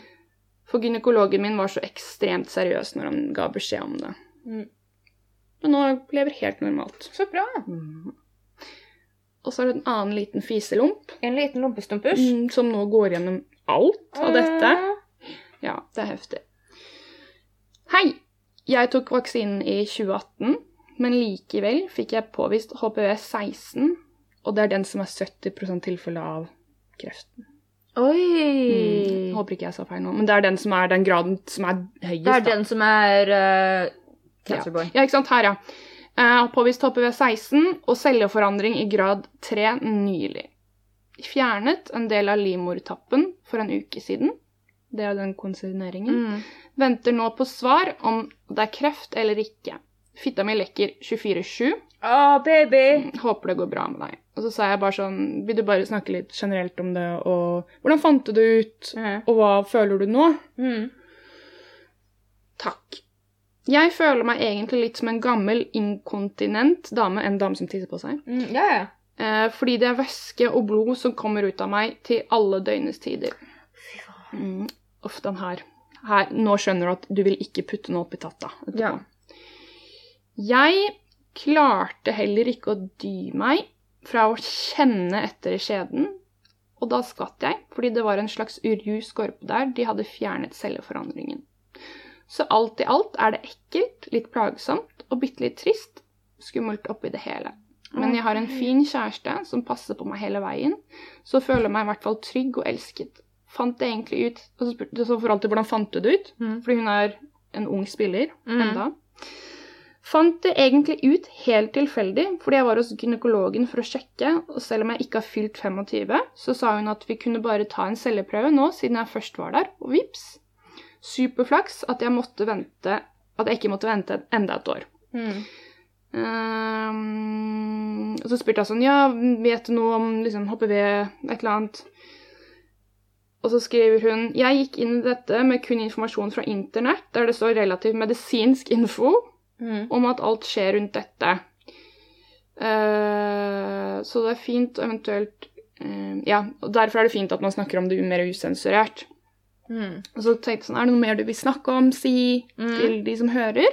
For gynekologen min var så ekstremt seriøs når han ga beskjed om det.
Mm.
Men nå lever helt normalt.
Så bra.
Og så er det en annen liten fiselump
En liten lompestumpers.
mm, som nå går gjennom alt av dette. Ja, det er heftig. Hei! Jeg tok vaksinen i 2018, men likevel fikk jeg påvist HPV-16, og det er den som er 70 tilfelle av kreften.
Oi.
Jeg håper ikke jeg sa feil nå, men det er den som er den graden som er høyest.
Det
da.
er den som er eh, Cancerboy.
Ja, ikke sant? Her, ja. Eh, og påvist HPV-16 og celleforandring i grad 3 nylig. Fjernet en del av livmortappen for en uke siden. Det er den konserneringen.
Mm.
Venter nå på svar om det er kreft eller ikke. Fitta mi lekker 24-7.
Å, baby!
Håper det går bra med deg. Og så sa jeg bare sånn Vil du bare snakke litt generelt om det, og Hvordan fant du det ut?
Mm.
Og hva føler du nå?
Mm.
Takk. Jeg føler meg egentlig litt som en gammel inkontinent dame, en dame som tisser på seg.
Mm. Ja, ja.
Eh, fordi det er væske og blod som kommer ut av meg til alle døgnets tider. Mm, Uff, den her. her. Nå skjønner du at du vil ikke putte noe opp i tatta. etterpå.
Ja.
Jeg klarte heller ikke å dy meg fra å kjenne etter i skjeden, og da skvatt jeg, fordi det var en slags uru skorpe der, de hadde fjernet celleforandringen. Så alt i alt er det ekkelt, litt plagsomt og bitte litt trist, skummelt oppi det hele. Men jeg har en fin kjæreste som passer på meg hele veien, så føler jeg meg i hvert fall trygg og elsket. Fant det egentlig ut Og så spurte så for alltid hvordan fant du det ut?
Mm.
Fordi hun er en ung spiller
Mm.
enda. Fant det egentlig ut helt tilfeldig, fordi jeg var hos gynekologen for å sjekke, og selv om jeg ikke har fylt 25, så sa hun at vi kunne bare ta en celleprøve nå, siden jeg først var der, og vips. Superflaks at jeg, måtte vente, at jeg ikke måtte vente enda et år.
Mm.
Ehm, og så spurte jeg sånn, ja, vet du noe om liksom, HPV, et eller annet? Og så skriver hun, jeg gikk inn i dette med kun informasjon fra internett, der det står relativt medisinsk info
Mm.
om at alt skjer rundt dette. Eh, så det er fint og eventuelt eh, Ja, og derfor er det fint at man snakker om det mer usensurert.
Mm.
Og så tenkte jeg sånn, er det noe mer du vil snakke om, si
Mm.
til de som hører?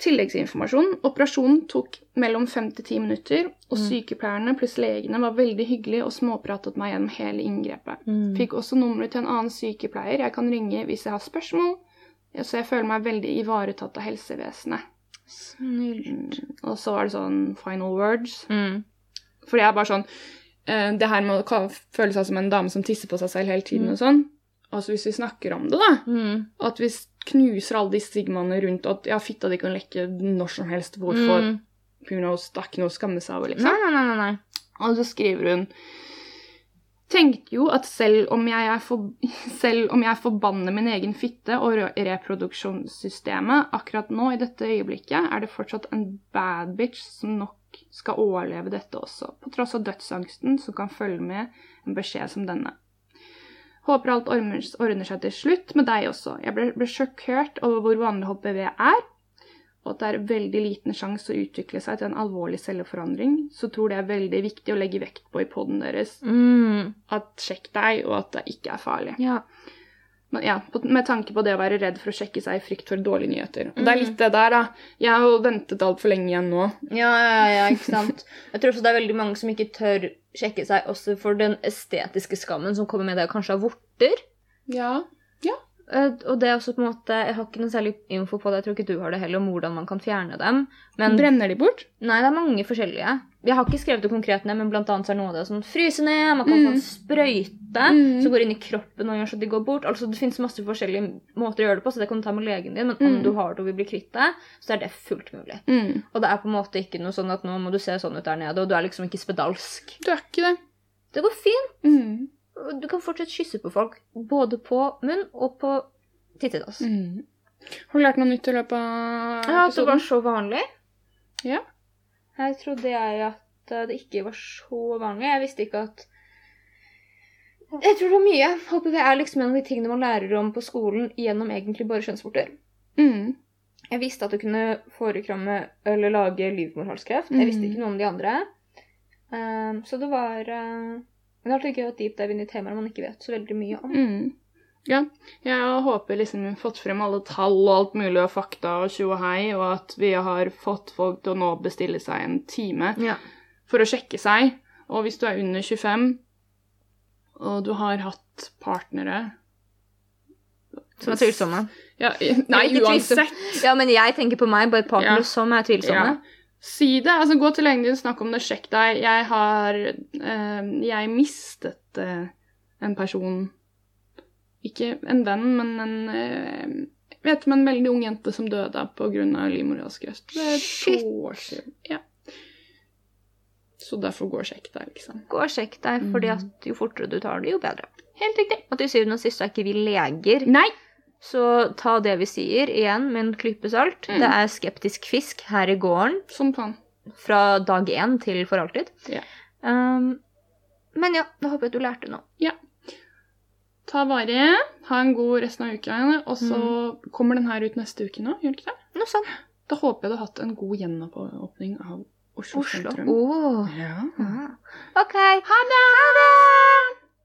Tilleggsinformasjon. Operasjonen tok mellom fem til ti minutter, og
Mm.
sykepleierne pluss legene var veldig hyggelige og småpratet meg gjennom hele inngrepet.
Mm.
Fikk også nummeret til en annen sykepleier jeg kan ringe hvis jeg har spørsmål, så jeg føler meg veldig ivaretatt av helsevesenet.
Snilt.
Og så var det sånn final words.
Mm.
Fordi jeg er bare sånn eh, Det her med å ka- føle seg som en dame som tisser på seg selv hele tiden
Mm.
og sånn. Altså hvis vi snakker om det, da.
Mm.
At vi s- knuser alle de stigmaene rundt at ja, fitta di kan lekke når som helst. Hvorfor?
Mm.
Who knows? Det er ikke noe å skamme seg over,
Nei,
liksom.
nei, nei, nei. nei.
Og så skriver hun tenkte jo at selv om jeg, er for, selv om jeg forbanner min egen fitte og re- reproduksjonssystemet akkurat nå, i dette øyeblikket, er det fortsatt en bad bitch som nok skal overleve dette også, på tross av dødsangsten som kan følge med en beskjed som denne. Håper alt ordner, ordner seg til slutt med deg også. Jeg ble, ble sjokkert over hvor vanlig HPV er, og at det er veldig liten sjanse å utvikle seg til en alvorlig celleforandring, så tror det er veldig viktig å legge vekt på i poden deres
Mm.
at sjekk deg, og at det ikke er farlig.
Ja.
Men ja, på, med tanke på det å være redd for å sjekke seg i frykt for dårlige nyheter. Og det er
Mhm.
litt det der, da. Jeg har jo ventet altfor lenge igjen nå.
Ja, ja, ja, ikke sant. Jeg tror også det er veldig mange som ikke tør sjekke seg også for den estetiske skammen som kommer med det å kanskje ha vorter.
Ja.
Eh, Og det er også på en måte, Jeg har ikke noe særlig info på det, jeg tror ikke du har det heller, om hvordan man kan fjerne dem. Men
Brenner de bort?
nei, det er mange forskjellige. Jeg har ikke skrevet det konkret ned, men blant annet så er noe av det sånn fryse ned, man kan få en sprøyte
Mm.
som går inn i kroppen og gjør så de går bort. Altså Det fins masse forskjellige måter å gjøre det på, så det kan du ta med legen din. Men om
Mm.
du har det og vil bli kvitt det, så er det fullt mulig.
Mm.
Og det er på en måte ikke noe sånn at nå må du se sånn ut der nede, og du er liksom ikke spedalsk.
Du er ikke det.
Det går fint.
Mm.
Du kan fortsatt kysse på folk. Både på munn og på tittedass.
Mm. Har du lært noe nytt i løpet av
Ja, at det var så
episoden?
vanlig.
Ja.
Her trodde jeg at eh, det ikke var så vanlig. Jeg visste ikke at Jeg tror det var mye. HPV er liksom en av de tingene man lærer om på skolen gjennom egentlig bare kjønnsvorter.
Mm.
Jeg visste at du kunne forekramme eller lage livmorhalskreft. Jeg visste
Mhm.
ikke noe om de andre. Ehm, så det var eh, Det er alltid gøy å deep dive inn i temaer man ikke vet så veldig mye om.
Mm. Ja. Jeg håper liksom vi har fått frem alle tall og alt mulig og fakta og tjo og hei, og at vi har fått folk til å nå bestille seg en time.
Ja.
for å sjekke seg. Og hvis du er under 25, og du har hatt partnere
Som er tvilsomme.
ja, Nei,
Ikke tvilsom-
uansett.
Ja, men jeg tenker på meg, bare partnere
Ja.
som er tvilsomme.
Ja. Si det. altså Gå til legen din, snakk om det, sjekk deg. Jeg har eh, Jeg mistet eh, en person Ikke en venn, men en eh, Vet om en veldig ung jente som døde pga. livmorhalskreft. Det er
Shit.
to år siden. Ja. Så derfor gå og sjekk deg, liksom.
Gå og sjekk deg,
Mm.
fordi at jo fortere du tar det, jo bedre.
Helt riktig.
Og til syvende og sist så er ikke vi leger,
Nei.
så ta det vi sier, igjen med en klype salt.
Mm.
Det er skeptisk fisk her i gården
Som faen.
fra dag én til for alltid.
Ja.
Um, men ja, da håper jeg at du lærte noe.
Ta vare, ha en god resten av uka, og så kommer den her ut neste uke nå, gjør den ikke det?
Noe sånt.
Da håper jeg du har hatt en god gjenåpning av Oslo,
Oslo.
sentrum.
Åh.
Ja.
Ah. OK. Ha det! Ha det!